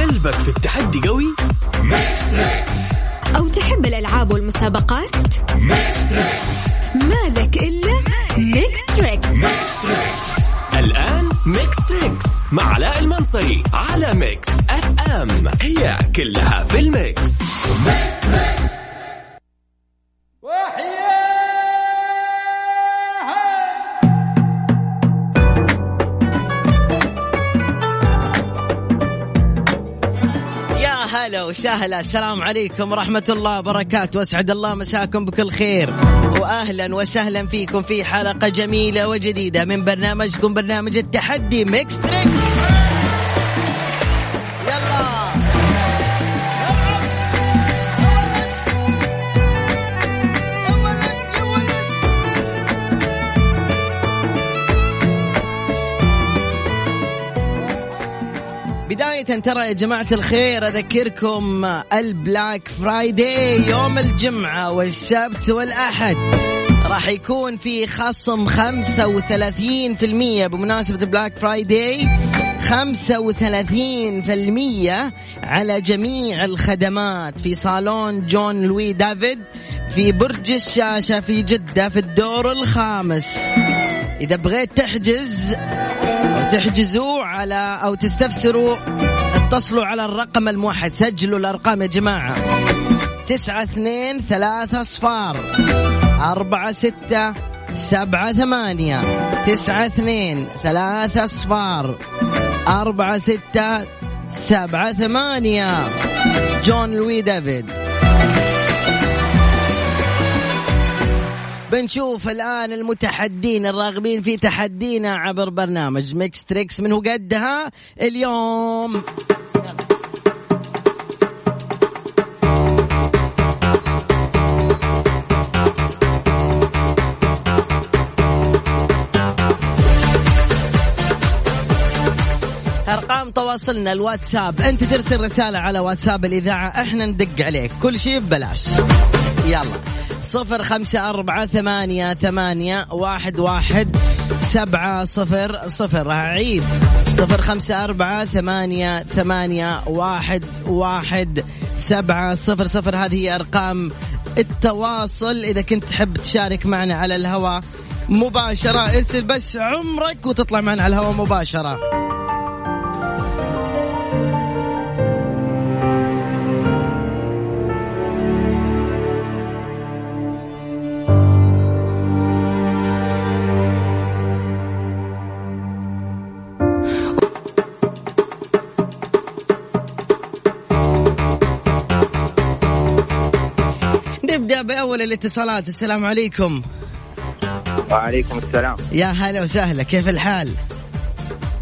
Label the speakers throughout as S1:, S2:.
S1: قلبك في التحدي قوي
S2: أو تحب الألعاب والمسابقات مالك إلا ميكس تريكس
S1: الآن ميكس تريكس مع علاء المنصري على ميكس اف ام هي كلها في الميكس
S3: يا هلا وسهلا السلام عليكم ورحمة الله وبركاته واسعد الله مساكم بكل خير واهلا وسهلا فيكم في حلقة جميلة وجديدة من برنامجكم برنامج التحدي ميكس تريكس يلا بداية ترى يا جماعة الخير أذكركم البلاك فرايداي يوم الجمعة والسبت والأحد راح يكون في خصم 35% بمناسبة بلاك فرايداي 35% على جميع الخدمات في صالون جون لوي دافيد في برج الشاشة في جدة في الدور الخامس إذا بغيت تحجز أو تحجزوا على أو تستفسروا اتصلوا على الرقم الموحد سجلوا الأرقام يا جماعة تسعة اثنين ثلاثة صفار أربعة ستة سبعة ثمانية تسعة اثنين ثلاثة صفار أربعة ستة سبعة ثمانية جون لوي دافيد بنشوف الان المتحدين الراغبين في تحدينا عبر برنامج ميكس تريكس من هو قدها اليوم ارقام تواصلنا الواتساب انت ترسل رساله على واتساب الاذاعه احنا ندق عليك كل شيء ببلاش يلا صفر خمسة أربعة ثمانية ثمانية واحد واحد سبعة صفر صفر أعيد صفر خمسة أربعة ثمانية ثمانية واحد واحد سبعة صفر صفر هذه هي أرقام التواصل إذا كنت تحب تشارك معنا على الهواء مباشرة ارسل بس عمرك وتطلع معنا على الهواء مباشرة نبدأ بأول الاتصالات السلام عليكم
S4: وعليكم السلام
S3: يا هلا وسهلا كيف الحال؟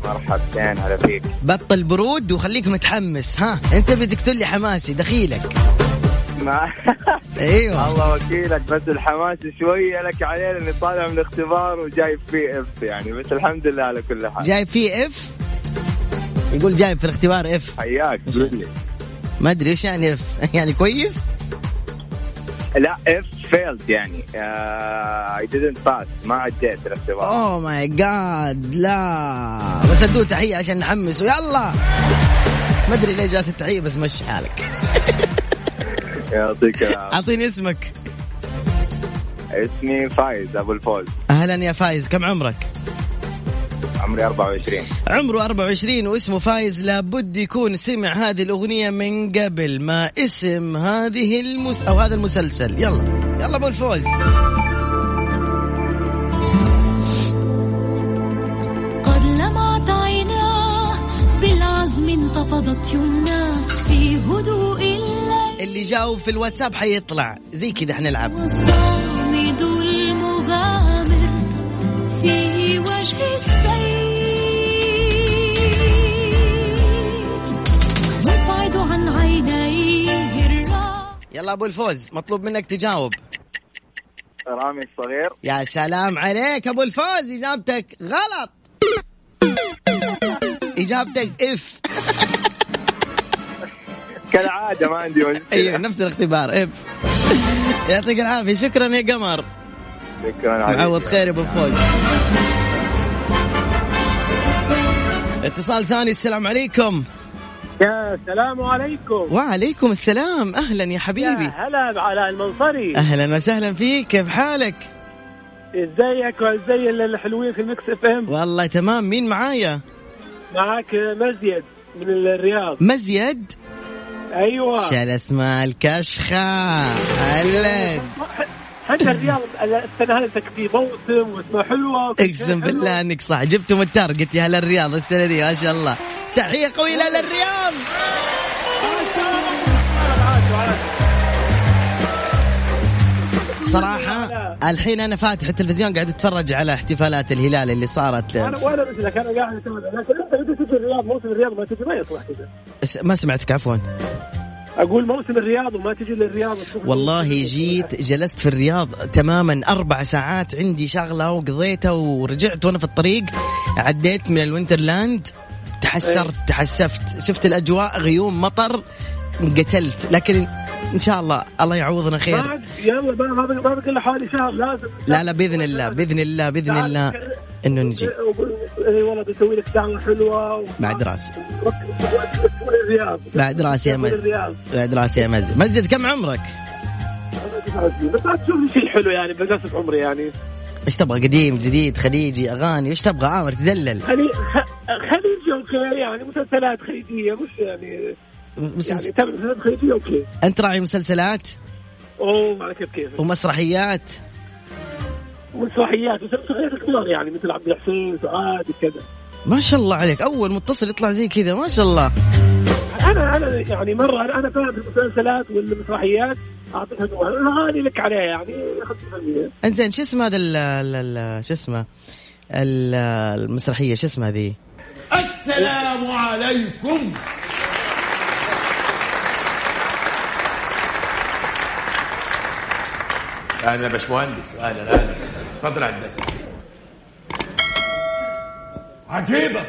S4: مرحبتين هلا فيك
S3: بطل برود وخليك متحمس ها انت بدك تقول لي حماسي دخيلك
S4: ما
S3: ايوه
S4: الله وكيلك بس الحماس شوية لك عليه لاني طالع من اختبار وجايب فيه اف يعني بس الحمد لله على كل حال
S3: جايب فيه اف يقول جايب في الاختبار اف
S4: حياك قول لي
S3: ما ادري ايش يعني اف يعني كويس
S4: لا اف فيلد يعني اي didnt pass ما عديت الاختبار
S3: اوه ماي جاد Oh لا بس ادوه تحيه عشان نحمسه يلا ما ادري ليه جات التحيه بس مشي حالك
S4: يعطيك العافية.
S3: اعطيني اسمك
S4: اسمي فايز ابو الفوز
S3: اهلا يا فايز كم عمرك
S4: عمري 24
S3: عمره 24 واسمه فايز لابد يكون سمع هذه الأغنية من قبل ما اسم هذه المس... أو هذا المسلسل يلا يلا أبو الفوز
S5: قد لمعت عيناه بالعزم انتفضت يمناه في هدوء الليل
S3: اللي جاوب في الواتساب حيطلع زي كذا حنلعب
S5: الصامد المغامر في وجه السيل يبعد عن عينيه الراحة
S3: يلا أبو الفوز مطلوب منك تجاوب
S4: رامي الصغير
S3: يا سلام عليك أبو الفوز إجابتك غلط إجابتك إف
S4: كالعادة ما عندي مشكلة أيوة،
S3: أيوة، ايوه نفس الاختبار إف يعطيك العافية شكرا يا قمر
S4: شكرا عليك
S3: معوض خير يا ابو فوز اتصال ثاني السلام عليكم
S6: يا السلام عليكم
S3: وعليكم السلام اهلا يا
S6: يا
S3: حبيبي أه.
S6: هلا بعلاء المنصري
S3: اهلا وسهلا فيك كيف حالك
S6: ازيك وازي الحلوين في المكس اف ام
S3: والله تمام مين معايا
S6: معك مزيد من الرياض
S3: مزيد
S6: ايوه
S3: شال اسماء الكشخة أهلا
S6: حتى الرياض السنه هذه تكفي موسم واسمها حلوه وكل شيء
S3: اقسم
S6: حلو.
S3: بالله انك صح جبت متار قلت يا هلا الرياض السنة دي ما شاء الله تحية قوية لأهل الرياض صراحة الحين أنا فاتح التلفزيون قاعد أتفرج على احتفالات الهلال اللي صارت
S6: انا وانا مثلك انا قاعد اسوي هذا. لكن انت بدك تجي الرياض موسم الرياض ما تجي ما يصلح كذا
S3: س- ما سمعتك عفوا
S6: اقول موسم الرياض وما تجي للرياض وتشوف-
S3: والله جيت جلست في الرياض تماما أربع ساعات عندي شغلة وقضيتها ورجعت وأنا في الطريق عديت من الوينترلاند تحسرت تحسفت شفت الأجواء غيوم مطر انقتلت لكن إن شاء الله الله يعوضنا
S6: ما
S3: خير
S6: عاد يلا ما- ما بق- ما بقى الا حوالي شهر لازم
S3: لا لا بإذن الله بإذن الله بإذن الله إنه نجي
S6: اي إيه والله بسوي لك دعوه حلوه و...
S3: بعد راسي
S6: الرياض
S3: بعد راسي يا مجد
S6: الرياض
S3: بعد راسي يا مجد مجد كم عمرك؟
S6: بس ما تشوف لي شيء حلو يعني بقصة عمري يعني
S3: ايش تبغى قديم جديد خليجي اغاني ايش تبغى عامر تدلل
S6: خلي خ- خليجي اوكي يعني مسلسلات خليجيه مش يعني يعني
S3: مسلسل...
S6: تابع مسلسلات خليجيه اوكي
S3: انت راعي مسلسلات
S6: اوه على كيف كيف
S3: ومسرحيات
S6: ومسرحيات ومسرحيات كبار يعني مثل عبد الحسين سعاد وكذا
S3: ما شاء الله عليك اول متصل يطلع زي كذا ما شاء الله
S6: انا انا يعني مره انا أنا فاهم المسلسلات والمسرحيات اعطيها نوع الاغاني لك عليها يعني 50%
S3: انزين شو اسم هذا ال- ال- ال- شو اسمه ال- المسرحيه شو اسمها ذي
S7: السلام عليكم اهلا باشمهندس اهلا اهلا تفضل هندسه عجيبه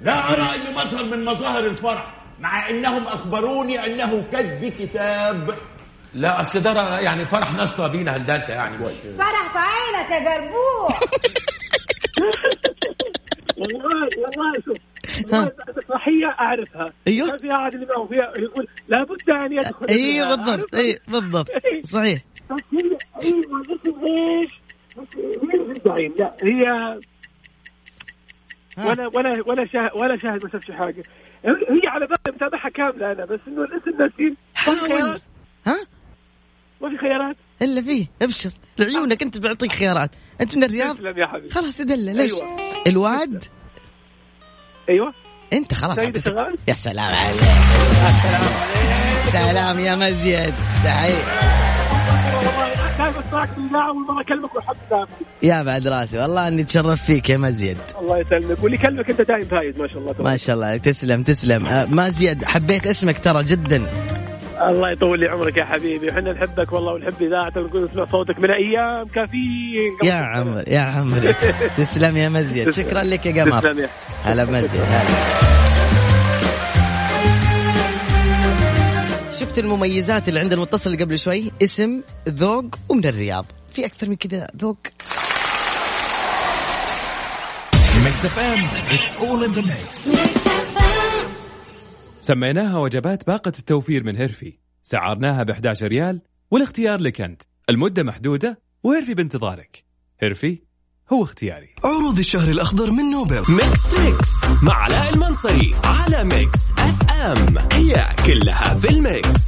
S7: لا ارى اي مظهر من مظاهر الفرح مع انهم اخبروني انه كذب كتاب
S8: لا اصل ده يعني فرح ناس بينا هندسه يعني
S9: فرح في عينك يا جربوع
S6: والله والله شوف والله مسرحيه اعرفها
S3: أيوه.
S6: كان فيها عادل امام وفيها يقول لابد ان يدخل
S3: اي
S6: الجماعة.
S3: إيه، بالضبط اي بالضبط صحيح
S6: بس هي ايوه اسم ايش؟ مين الزعيم؟ لا هي
S3: ها.
S6: ولا ولا ولا شاهد ولا شاهد ما شافش حاجه هي على بالي متابعها كامله انا بس انه الاسم ناسين ما في
S3: حاول
S6: خيارات
S3: ها
S6: ما في خيارات
S3: الا فيه ابشر لعيونك انت بعطيك خيارات انت من الرياض
S6: تسلم يا حبيبي
S3: خلاص تدلل ليش
S6: أيوة.
S3: الواد
S6: ايوه
S3: انت خلاص
S6: سيد
S3: أعطيتك-
S6: الشغال؟
S3: يا سلام عليك سلام يا مزيد تعي-
S6: والله كان بسمعك من ذا اول مره اكلمك والحمد لله
S3: يا بعد راسي والله اني تشرف فيك يا مزيد
S6: الله يسلمك واللي يكلمك انت دايم فايز ما شاء الله تبارك
S3: ما شاء الله عليك تسلم تسلم آه، ما زيد حبيت اسمك ترى جدا
S6: الله يطول لي عمرك يا حبيبي وحنا نحبك والله ونحب اذاعتك ونقول نسمع صوتك من ايام كافيين
S3: يا عمر يا عمر تسلم يا مزيد شكرا لك يا قمر
S6: تسلم يا
S3: هلا بمزيد هلا شفت المميزات اللي عند المتصل قبل شوي اسم ذوق ومن الرياض في اكثر من كذا ذوق
S1: ميكس اف ام اتس اول ان ذا ميكس
S10: سميناها وجبات باقة التوفير من هيرفي سعرناها ب 11 ريال والاختيار لك أنت المدة محدودة وهيرفي بانتظارك هيرفي هو اختياري
S1: عروض الشهر الاخضر من نوبل ميكس تريكس مع علاء المنصري على ميكس اف ام هي كلها في الميكس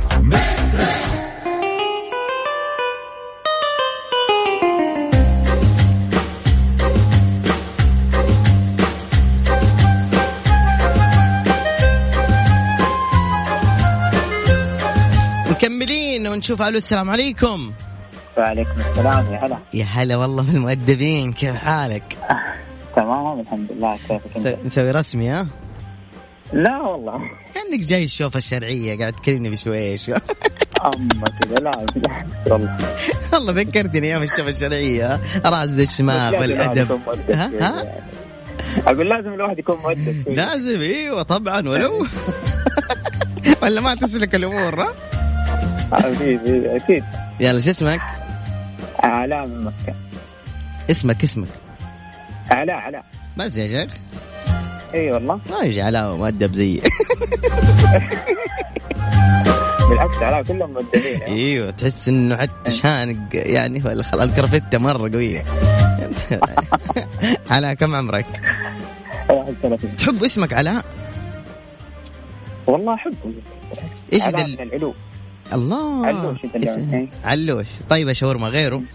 S3: مكملين ونشوف الو السلام عليكم
S11: وعليكم السلام يا هلا
S3: يا هلا والله من المؤدبين كيف حالك؟
S11: تمام الحمد لله كيفك
S3: مس-
S11: انت؟
S3: مسوي رسمي ها؟
S11: لا والله
S3: كانك جاي الشوفه الشرعيه قاعد تكلمني بشويش
S11: اما كذا لا والله
S3: والله ذكرتني ايام الشوفه الشرعيه راس الشماغ والادب ها ها
S11: اقول لازم الواحد يكون مؤدب
S6: إيه.
S11: شوي.
S3: لازم ايوه طبعا ولو ولا ما تسلك الامور ها؟
S11: اكيد اكيد
S3: يلا شو اسمك؟
S11: علاء من مكه
S3: اسمك اسمك
S6: علاء علاء
S3: بس يا شيخ
S6: اي والله
S3: ما يجي علاء مؤدب زيي
S6: بالعكس علاء كلهم مؤدبين يعني.
S3: ايوه تحس انه حتى شانق يعني ولا خلاص كرفته مره قويه علاء كم عمرك؟
S6: 31
S3: تحب اسمك علاء؟
S6: والله احبه
S3: إيش
S6: علاء
S3: دل-
S6: من العلو
S3: الله
S6: علوش إذا
S3: يا
S6: اليوم.
S3: سلام.
S6: إيه.
S3: علوش طيب شاورما غيره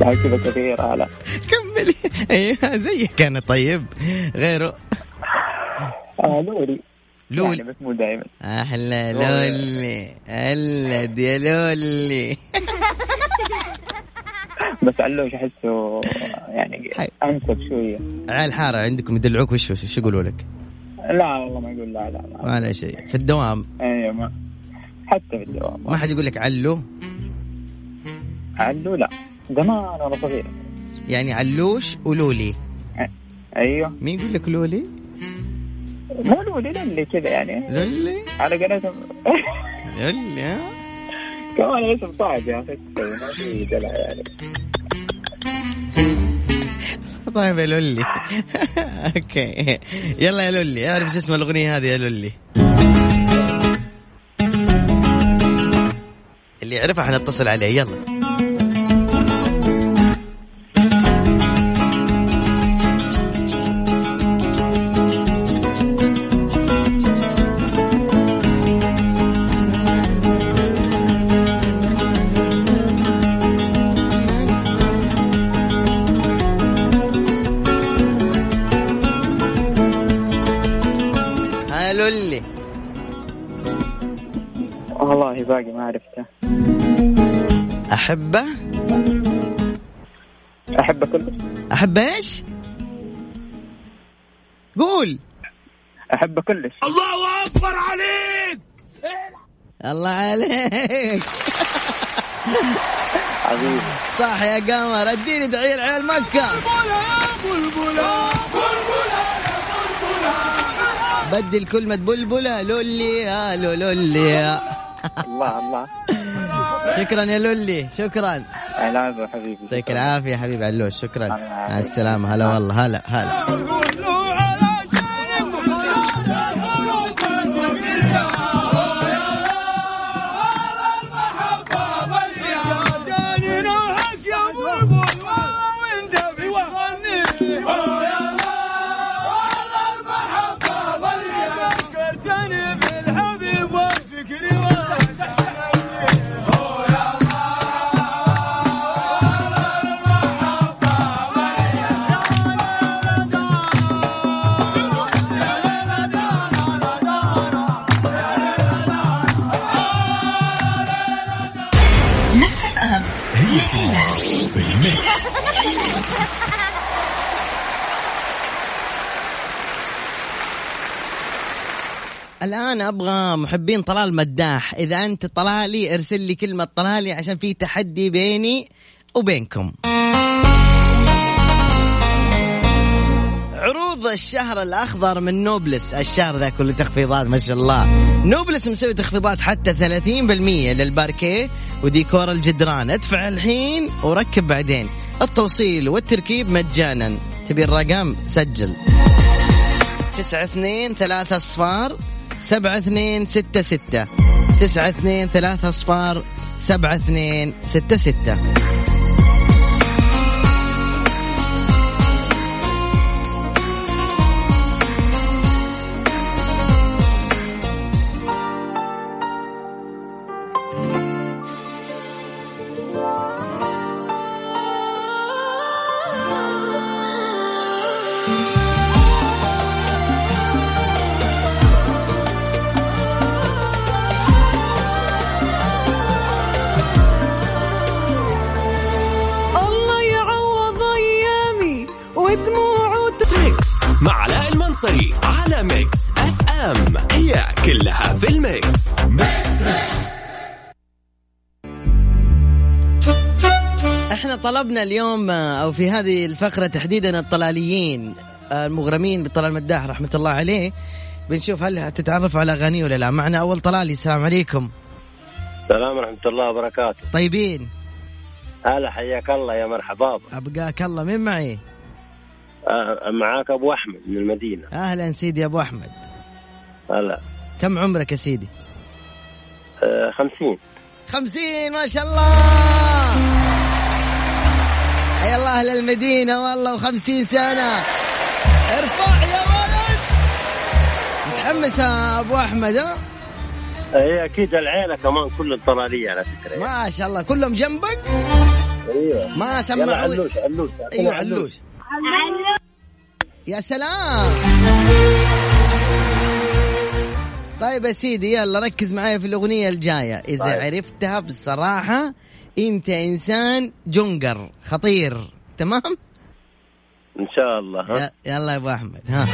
S6: لا كذا كثير علاء
S3: كملي ايوه زيه كان طيب غيره
S6: آه لولي
S3: لول.
S6: يعني بس مو دائما
S3: احلى لولي هلا يا لولي
S6: بس علوش احسه يعني انسب شويه
S3: عيال الحاره عندكم يدلعوك وش وش يقولوا لك؟
S6: لا والله ما يقول لا لا لا
S3: ولا شيء في الدوام
S6: ايوه ما حتى في الدوام
S3: ما حد يقول لك علو
S6: علو لا زمان وانا صغير
S3: يعني علوش ولولي
S6: ايوه
S3: مين يقول لك لولي؟
S6: مو لولي لا اللي كذا يعني
S3: لولي
S6: على قناتهم
S3: لولي ها؟
S6: كمان اسم صعب يا اخي ما في دلع يعني
S3: طيب يا لولي اوكي يلا يا لولي اعرف شو اسم الاغنيه هذه يا لولي اللي يعرفها حنتصل عليه يلا ها لولي
S6: والله باقي ما عرفته
S3: احبه
S6: احب كله
S3: احب ايش؟ قول
S6: احب كلش
S1: الله اكبر عليك
S3: الله عليك
S6: عظيم
S3: صح يا قمر اديني دعير عيال مكة بدل كلمة بلبلة لولي يا لو لولي يا.
S6: الله الله
S3: شكرا يا لولي شكرا
S6: العافيه حبيبي
S3: يعطيك العافية يا حبيب علوش شكرا
S6: الله يعافيك.
S3: مع السلامة هلا والله هلا هلا الآن أبغى محبين طلال مداح إذا أنت طلالي ارسل لي كلمة طلالي عشان في تحدي بيني وبينكم عروض الشهر الأخضر من نوبلس الشهر ذا كله تخفيضات ما شاء الله نوبلس مسوي تخفيضات حتى 30% للباركيه وديكور الجدران ادفع الحين وركب بعدين التوصيل والتركيب مجانا تبي الرقم سجل تسعة اثنين ثلاثة أصفار سبعة اثنين ستة ستة تسعة اثنين ثلاثة أصفار سبعة اثنين ستة ستة
S12: الله يعوض ايامي ودموعه
S1: ميكس مع علاء المنصري على ميكس اف ام هي كلها في الميكس
S3: احنا طلبنا اليوم آه، او في هذه الفقرة تحديدا الطلاليين آه، المغرمين بطلال مداح رحمة الله عليه بنشوف هل هتتعرف على أغانيه ولا لا معنا أول طلالي السلام عليكم
S4: السلام ورحمة الله وبركاته
S3: طيبين
S4: هلا حياك الله يا مرحبا بك
S3: ابقاك الله مين معي
S4: آه، معاك أبو أحمد من المدينة
S3: اهلا سيدي يا ابو احمد
S4: هلا
S3: كم عمرك يا سيدي
S4: آه، خمسين
S3: خمسين ما شاء الله يا الله اهل المدينه والله وخمسين سنه ارفع يا ولد متحمس يا ابو احمد ها
S4: هي أكيد العيلة كمان كل الطلالية على فكرة
S3: ما شاء الله كلهم جنبك
S4: أيوه
S3: ما
S4: يلا
S3: سمعوني
S4: علوش علوش
S3: ايوه علوش يا سلام طيب يا سيدي يلا ركز معايا في الاغنيه الجايه اذا
S13: طيب.
S3: عرفتها بصراحه انت انسان جونجر خطير تمام
S4: إن شاء الله ها؟
S3: ي- يلا يا ابو احمد ها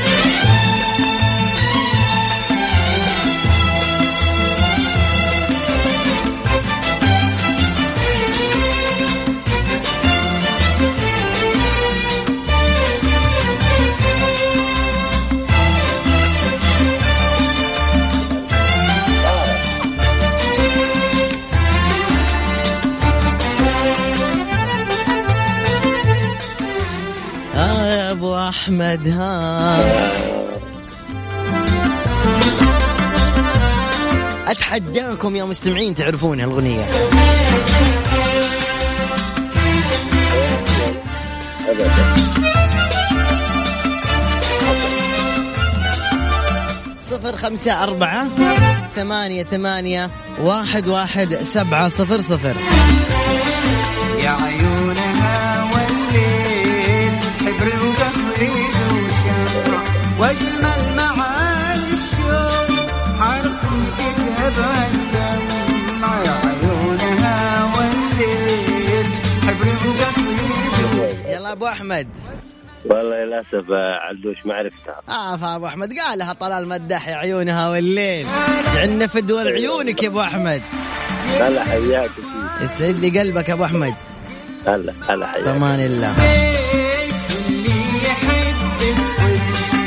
S3: اه يا ابو احمد ها اتحداكم يا مستمعين تعرفون هالاغنيه صفر خمسة أربعة ثمانية ثمانية واحد واحد سبعة صفر صفر
S13: يا عيونها والليل حبر وقصيد وشمع واجمل معاني الشوق حرف كتب الدمع يا عيونها والليل حبر وقصيد وشمع
S3: يلا أبو أحمد
S4: والله للأسف آه، علوش ما عرفتها
S3: آه يا أبو أحمد قالها طلال مدح يا عيونها والليل عنا في الدول عيونك يا أبو أحمد
S4: هلا حياك
S3: يسعد لي قلبك يا أبو أحمد
S4: هلا هلا حياك
S3: أمان الله
S13: اللي يحبك صدق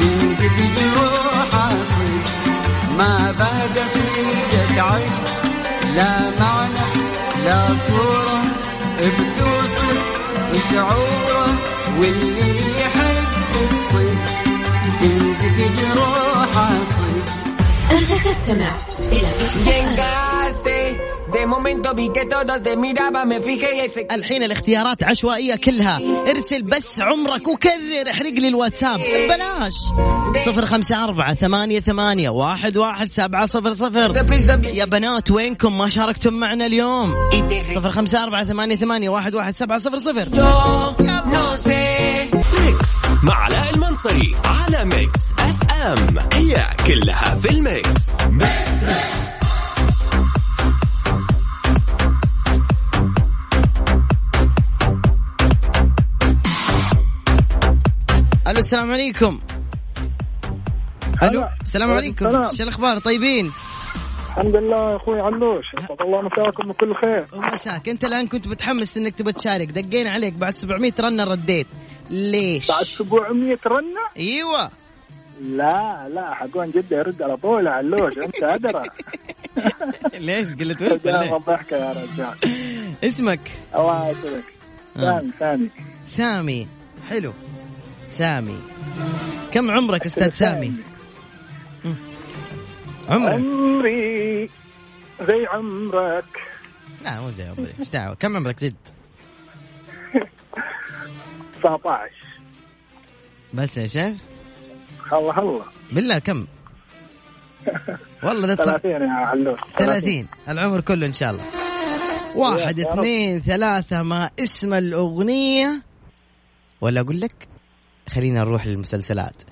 S13: ينزل جروحه صدق ما بعد صيدك عشق لا معنى لا صورة بتوصل شعوره واللي يحبك صدق ينزل جروحه صدق
S2: أنت تستمع إلى
S14: Llegaste, de momento vi que todos te miraban, me fijé y efectivamente.
S3: الحين الاختيارات عشوائية كلها ارسل بس عمرك وكرر احرق لي الواتساب بلاش صفر خمسة أربعة ثمانية ثمانية واحد واحد سبعة صفر صفر يا بنات وينكم ما شاركتم معنا اليوم صفر خمسة أربعة ثمانية ثمانية واحد واحد سبعة صفر صفر
S1: تريكس مع علاء المنصري على ميكس اف ام هي كلها في الميكس ميكس تريكس
S3: ألو السلام عليكم ألو السلام عليكم
S6: وعليكم السلام.
S3: شو الأخبار طيبين
S6: الحمد لله اخوي علوش يسعد الله مساكم بكل خير
S3: مساك انت الان كنت متحمس انك تبى تشارك دقينا عليك بعد 700 رنه رديت ليش بعد
S6: 700 رنه
S3: ايوه
S6: لا لا حقون جدة يرد على طول يا علوش انت ادرى
S3: ليش قلت ولد ولا
S6: رجال
S3: إيه؟
S6: الضحكة يا رجال
S3: اسمك
S6: الله يسلمك سامي
S3: طيب.
S6: سامي
S3: سامي حلو سامي كم عمرك استاذ سامي مم. عمرك
S6: عمري زي عمرك
S3: لا مو زي عمري ايش دعوه كم عمرك جد
S6: 19
S3: بس يا شيخ
S6: الله الله
S3: بالله كم والله ده
S6: 30 يا علوش
S3: 30 العمر كله ان شاء الله واحد
S6: يا رب.
S3: اثنين ثلاثة ما اسم الأغنية ولا أقول لك خلينا نروح للمسلسلات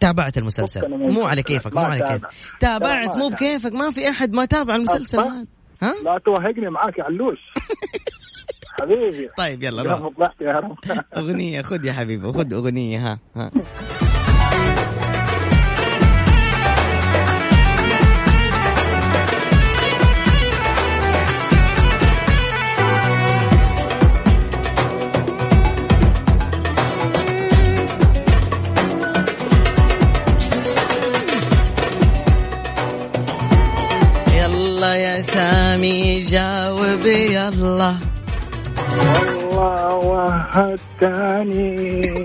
S3: تابعت المسلسل
S6: فكنا من
S3: مو على
S6: المسلسلات.
S3: كيفك
S6: ما
S3: مو على
S6: أتابع.
S3: كيفك تابعت
S6: ما
S3: مو
S6: أتابع.
S3: بكيفك ما في أحد ما تابع المسلسل
S6: أصلاً؟
S3: هذا ها
S6: لا توهقني معاك يا علوش حبيبي
S3: طيب يلا
S6: يا
S3: روح
S6: رب ضحكة يا رب
S3: أغنية خذ يا حبيبي خذ أغنية ها ها يلا يا سامي يلا
S6: والله وهتاني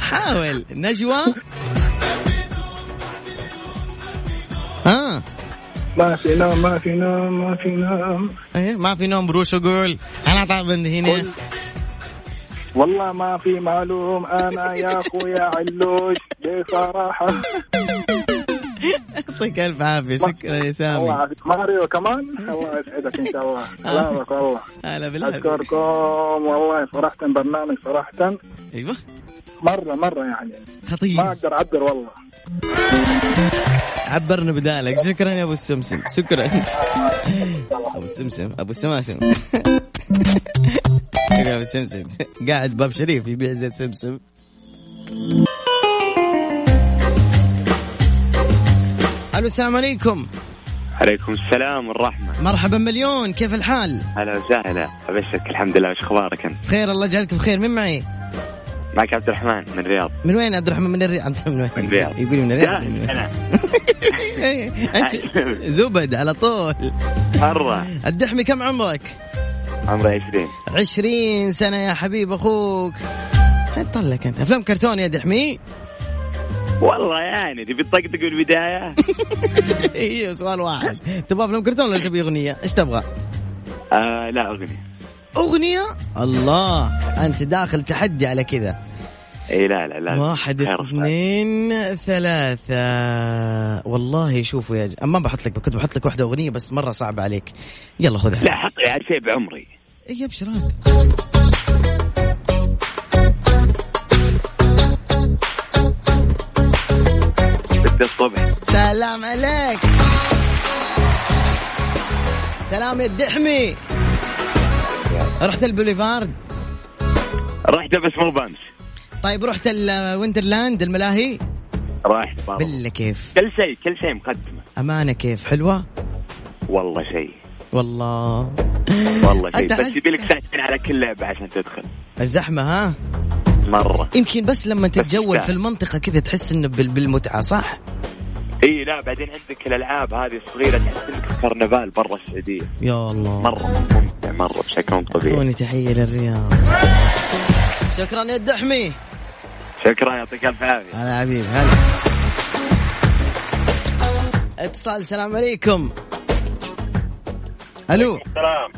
S3: حاول نجوى ها
S6: ما في نوم ما في نوم ما في نوم
S3: إيه، ما في نوم بروش وقول انا طاب هنا
S6: والله ما في معلوم انا يا اخويا علوش بصراحه
S3: يعطيك الف عافيه شكرا يا
S6: الله
S3: سامي
S6: يعافيك ماريو كمان الله يسعدك ان شاء الله سلامك والله
S3: هلا بالله
S6: اشكركم والله صراحه برنامج صراحه
S3: ايوه
S6: مره مره يعني
S3: خطير
S6: ما اقدر اعبر والله
S3: عبرنا بدالك شكرا يا ابو السمسم شكرا ابو السمسم ابو السماسم يا ابو السمسم قاعد باب شريف يبيع زيت سمسم الو السلام عليكم
S15: عليكم السلام والرحمة
S3: مرحبا مليون كيف الحال
S15: هلا وسهلا أبشرك الحمد لله وش أخبارك أنت
S3: بخير الله يجعلك بخير مين معي
S15: معك عبد الرحمن من الرياض
S3: من وين عبد الرحمن من الرياض انت من وين
S15: من الرياض
S3: يقول من الرياض
S15: جاهز
S3: من وين؟
S15: أنا
S3: انت زبد على طول
S15: مرة
S3: الدحمي كم عمرك
S15: عمري 20
S3: عشرين سنة يا حبيب أخوك وين طلك أنت أفلام كرتون يا دحمي
S15: والله يعني تبي تطقطق بالبداية
S3: إيه سؤال واحد تبغى أفلام كرتون ولا تبغى أغنية إيش تبغى
S15: آه لا أغنية
S3: أغنية الله أنت داخل تحدي على كذا
S15: إي لا لا لا
S3: واحد
S15: خير.
S3: اثنين ثلاثة والله شوفوا يا ج... ما بحط لك كنت بحط لك واحدة أغنية بس مرة صعبة عليك يلا خذها إيه،
S15: لا حط لي شيء بعمري
S3: اي ابشرك
S15: بدي الصبح
S3: سلام عليك سلام يا الدحمي رحت البوليفارد
S15: رحت بس مو بامس
S3: طيب رحت الويندرلاند الملاهي
S15: رحت برضه.
S3: بالله كيف
S15: كل شيء كل شيء مقدمة
S3: امانه كيف حلوه
S15: والله شيء
S3: والله
S15: والله شيء
S3: أنت
S15: بس
S3: حس-
S15: يبي لك ساعتين على كل لعبة عشان تدخل
S3: الزحمه ها
S15: مرة
S3: يمكن بس لما تتجول
S15: يستاهل.
S3: في المنطقه كذا تحس انه بال- بالمتعه صح
S15: اي لا بعدين عندك الالعاب هذه الصغيره تحس انك في كرنفال برا السعوديه
S3: يا الله
S15: مره ممتع مره بشكل مو طبيعي
S3: اعطوني تحيه للرياض شكرا يا الدحمي
S15: شكرا يعطيك الف عافيه
S3: هلا حبيبي هلا اتصال السلام عليكم الو
S16: السلام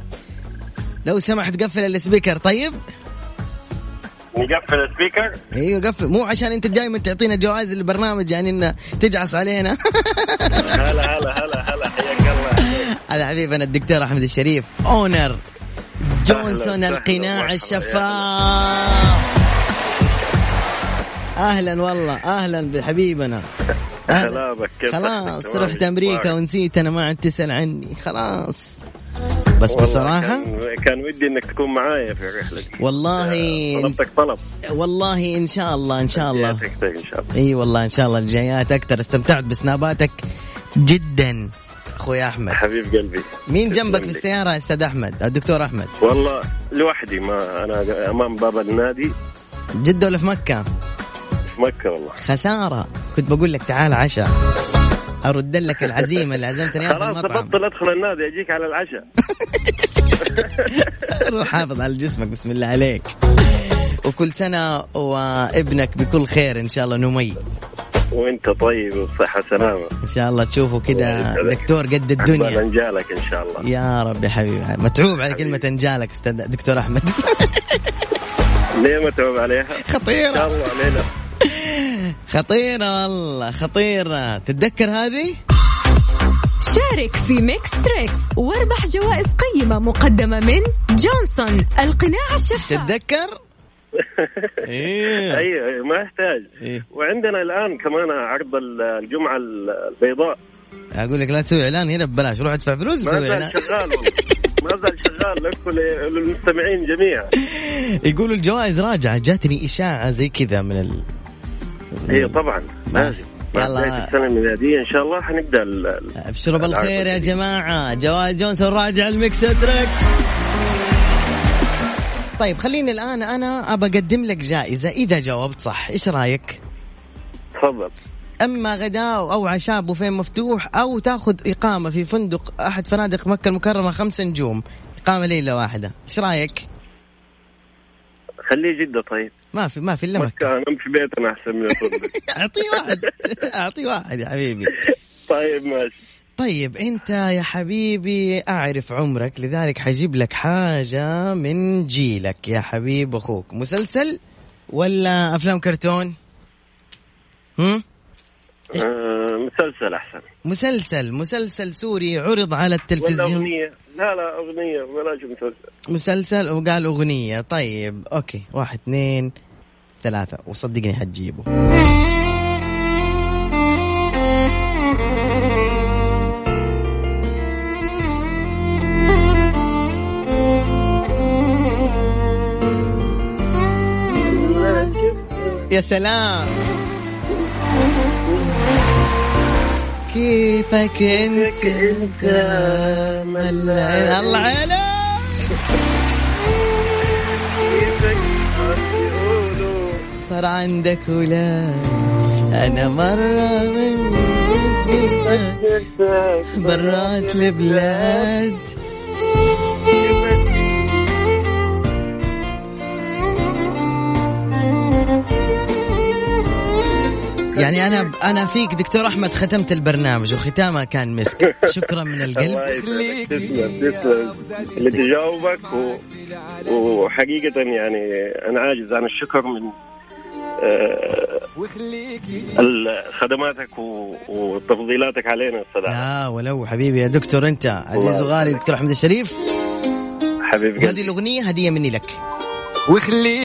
S3: لو سمحت قفل السبيكر طيب
S16: نقفل السبيكر
S3: ايوه قفل مو عشان انت دائما تعطينا جوائز البرنامج يعني انه تجعص علينا
S16: هلا هلا هلا هلا حياك الله
S3: هذا حبيبنا الدكتور احمد الشريف اونر جونسون
S16: أهلا
S3: القناع
S16: وسهلا،
S3: الشفاف اهلا والله اهلا بحبيبنا أهلا.
S16: سلامك كيف
S3: خلاص
S16: صحتك؟
S3: رحت امريكا ونسيت انا ما عاد تسال عني خلاص بس
S16: والله
S3: بصراحه
S16: كان, كان ودي انك تكون معايا في الرحله دي
S3: والله
S16: طلبتك طلب
S3: والله ان شاء الله ان شاء الله
S16: جيتك ان شاء الله
S3: اي والله ان شاء الله الجايات اكثر استمتعت بسناباتك جدا اخوي احمد
S16: حبيب قلبي
S3: مين
S16: تسلم
S3: جنبك في
S16: لي.
S3: السياره يا استاذ احمد الدكتور احمد
S16: والله لوحدي ما انا امام باب النادي
S3: جده ولا في مكه
S16: في مكه والله
S3: خساره كنت بقول لك تعال عشاء ارد لك العزيمه اللي عزمتني اياها في
S16: خلاص
S3: المطعم
S16: بطل ادخل النادي اجيك على العشاء
S3: روح حافظ على جسمك بسم الله عليك وكل سنه وابنك بكل خير ان شاء الله نمي
S16: وانت طيب وبصحه وسلامه
S3: ان شاء الله تشوفه كذا
S16: الله يسعدك.
S3: دكتور قد
S16: عقبال
S3: الدنيا
S16: انجالك ان شاء الله
S3: يا رب يا حبيبي متعوب على كلمه انجالك استاذ دكتور احمد
S16: ليه متعوب عليها؟
S3: خطيرة.
S16: ان شاء الله علينا
S3: خطيرة والله خطيرة تتذكر هذه؟
S2: شارك في ميكس تريكس واربح جوائز قيمة مقدمة من جونسون القناع الشفاف
S3: تتذكر؟ ايه
S16: ايوه ما يحتاج
S3: إيه.
S16: وعندنا الان كمان عرض ال- الجمعه ال- البيضاء
S3: اقول لك لا تسوي اعلان هنا ببلاش روح ادفع فلوس
S16: ما
S3: تسوي
S16: زال
S3: اعلان
S16: شغال والله ما زال شغال لك ول- للمستمعين جميعا
S3: يقولوا الجوائز راجعة جاتني اشاعة زي كذا من ال...
S16: اي طبعا إيه، لازم مع
S3: يلا.
S16: بداية السنة الميلادية إن شاء الله حنبدأ ال- ال-
S3: ابشروا
S16: العرض
S3: بالخير يا
S16: الجديد.
S3: جماعة جوائز جونسون راجع الميكس تريكس طيب خليني الان انا ابى اقدم لك جائزة اذا جاوبت صح ايش رايك؟
S16: تفضل
S3: اما غداء او عشاء بوفيه مفتوح او تاخذ اقامه في فندق احد فنادق مكه المكرمه خمس نجوم اقامه ليله واحده ايش رايك
S6: خليه جدة طيب
S3: ما في ما في الا مكه
S6: انا في بيتنا احسن من الفندق
S3: اعطيه واحد اعطيه واحد يا حبيبي
S6: طيب ماشي
S3: طيب انت يا حبيبي اعرف عمرك لذلك حجيب لك حاجه من جيلك يا حبيب اخوك مسلسل ولا افلام كرتون هم؟
S6: آه، مسلسل احسن
S3: مسلسل مسلسل سوري عرض على
S6: ولا
S3: التلفزيون
S6: اغنية لا لا اغنية بلاش مسلسل
S3: مسلسل وقال اغنيه طيب اوكي واحد اثنين ثلاثه وصدقني حتجيبه يا سلام كيفك انت انت ملان الله عليك صار عندك ولا انا مره من برات البلاد يعني انا انا فيك دكتور احمد ختمت البرنامج وختامه كان مسك شكرا من القلب
S6: الله يسعدك تسلم تسلم لتجاوبك و... وحقيقة يعني أنا عاجز عن الشكر من آه، ال- خدماتك و... وتفضيلاتك علينا الصراحة
S3: لا ولو حبيبي يا دكتور انت عزيز وغالي دكتور احمد الشريف
S6: حبيبي
S3: وهذه الاغنيه هديه مني لك
S1: وخليك